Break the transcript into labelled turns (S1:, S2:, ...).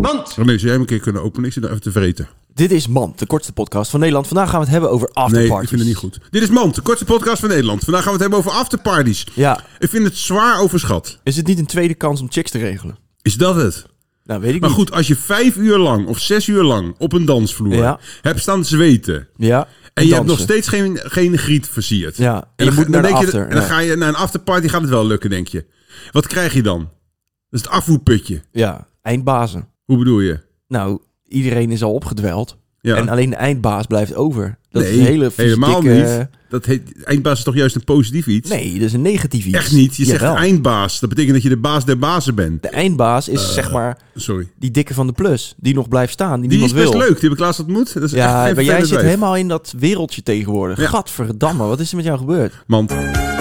S1: Mand!
S2: René, zou jij hem een keer kunnen openen? Ik zit nou even te vreten.
S3: Dit is Man, de kortste podcast van Nederland. Vandaag gaan we het hebben over
S2: Nee,
S3: afterparties.
S2: ik vind het niet goed. Dit is Mand, de kortste podcast van Nederland. Vandaag gaan we het hebben over afterparties.
S3: Ja,
S2: Ik vind het zwaar overschat.
S3: is het niet een tweede kans om chicks te regelen?
S2: Is dat het?
S3: Nou, weet ik
S2: Maar
S3: niet.
S2: goed, als je vijf uur lang of zes uur lang op een dansvloer
S3: Ja.
S2: hebt staan zweten...
S3: Ja.
S2: En je hebt nog
S3: dansen.
S2: steeds geen, geen griet versierd.
S3: Ja, en
S2: en,
S3: je
S2: dan, ga-
S3: moet naar
S2: dan
S3: de
S2: denk je,
S3: after,
S2: en dan
S3: ja.
S2: ga je naar een afterparty, gaat het wel lukken, denk je. Wat krijg je dan? Dat is het afvoerputje.
S3: Ja, eindbazen.
S2: Hoe bedoel je?
S3: Nou, iedereen is al opgedweld.
S2: Ja.
S3: En alleen de eindbaas blijft over. Dat
S2: nee,
S3: is een hele fysieke...
S2: helemaal niet. Dat heet, eindbaas is toch juist een positief iets?
S3: Nee, dat is een negatief iets.
S2: Echt niet. Je zegt
S3: Jawel.
S2: eindbaas. Dat betekent dat je de baas der bazen bent.
S3: De eindbaas is zeg maar
S2: Sorry.
S3: die dikke van de plus. Die nog blijft staan, die,
S2: Eh. Die is
S3: niemand
S2: best
S3: wil.
S2: leuk. Die heb ik laatst ontmoet. Dat is echt
S3: Ja,
S2: geen
S3: maar jij
S2: vervelend
S3: zit
S2: wijf.
S3: helemaal in dat wereldje tegenwoordig.
S2: Ja.
S3: Gadverdamme, wat is er met jou gebeurd?
S2: Mand.